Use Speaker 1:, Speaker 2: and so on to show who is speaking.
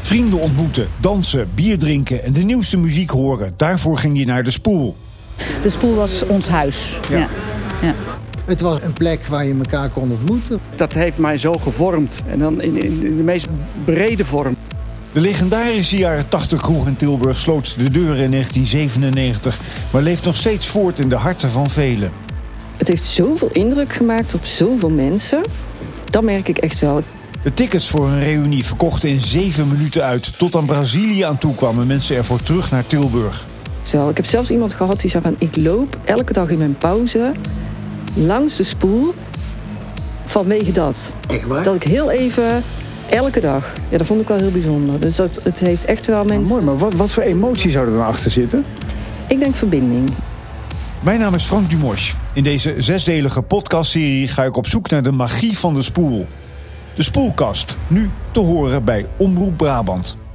Speaker 1: Vrienden ontmoeten, dansen, bier drinken en de nieuwste muziek horen. Daarvoor ging je naar de spoel.
Speaker 2: De spoel was ons huis. Ja. Ja.
Speaker 3: Het was een plek waar je elkaar kon ontmoeten.
Speaker 4: Dat heeft mij zo gevormd. En dan in, in, in de meest brede vorm.
Speaker 1: De legendarische jaren 80 kroeg in Tilburg sloot de deuren in 1997, maar leeft nog steeds voort in de harten van velen.
Speaker 5: Het heeft zoveel indruk gemaakt op zoveel mensen. Dat merk ik echt wel.
Speaker 1: De tickets voor een reunie verkochten in zeven minuten uit. Tot aan Brazilië aan toe kwamen mensen ervoor terug naar Tilburg.
Speaker 5: Zo, ik heb zelfs iemand gehad die zei van... ik loop elke dag in mijn pauze langs de spoel vanwege dat.
Speaker 6: Echt waar?
Speaker 5: Dat ik heel even, elke dag. Ja, dat vond ik wel heel bijzonder. Dus dat, het heeft echt wel mensen...
Speaker 7: Mooi, maar wat, wat voor emotie zou er dan achter zitten?
Speaker 5: Ik denk verbinding.
Speaker 1: Mijn naam is Frank Dumos. In deze zesdelige podcastserie ga ik op zoek naar de magie van de spoel. De spoelkast, nu te horen bij Omroep Brabant.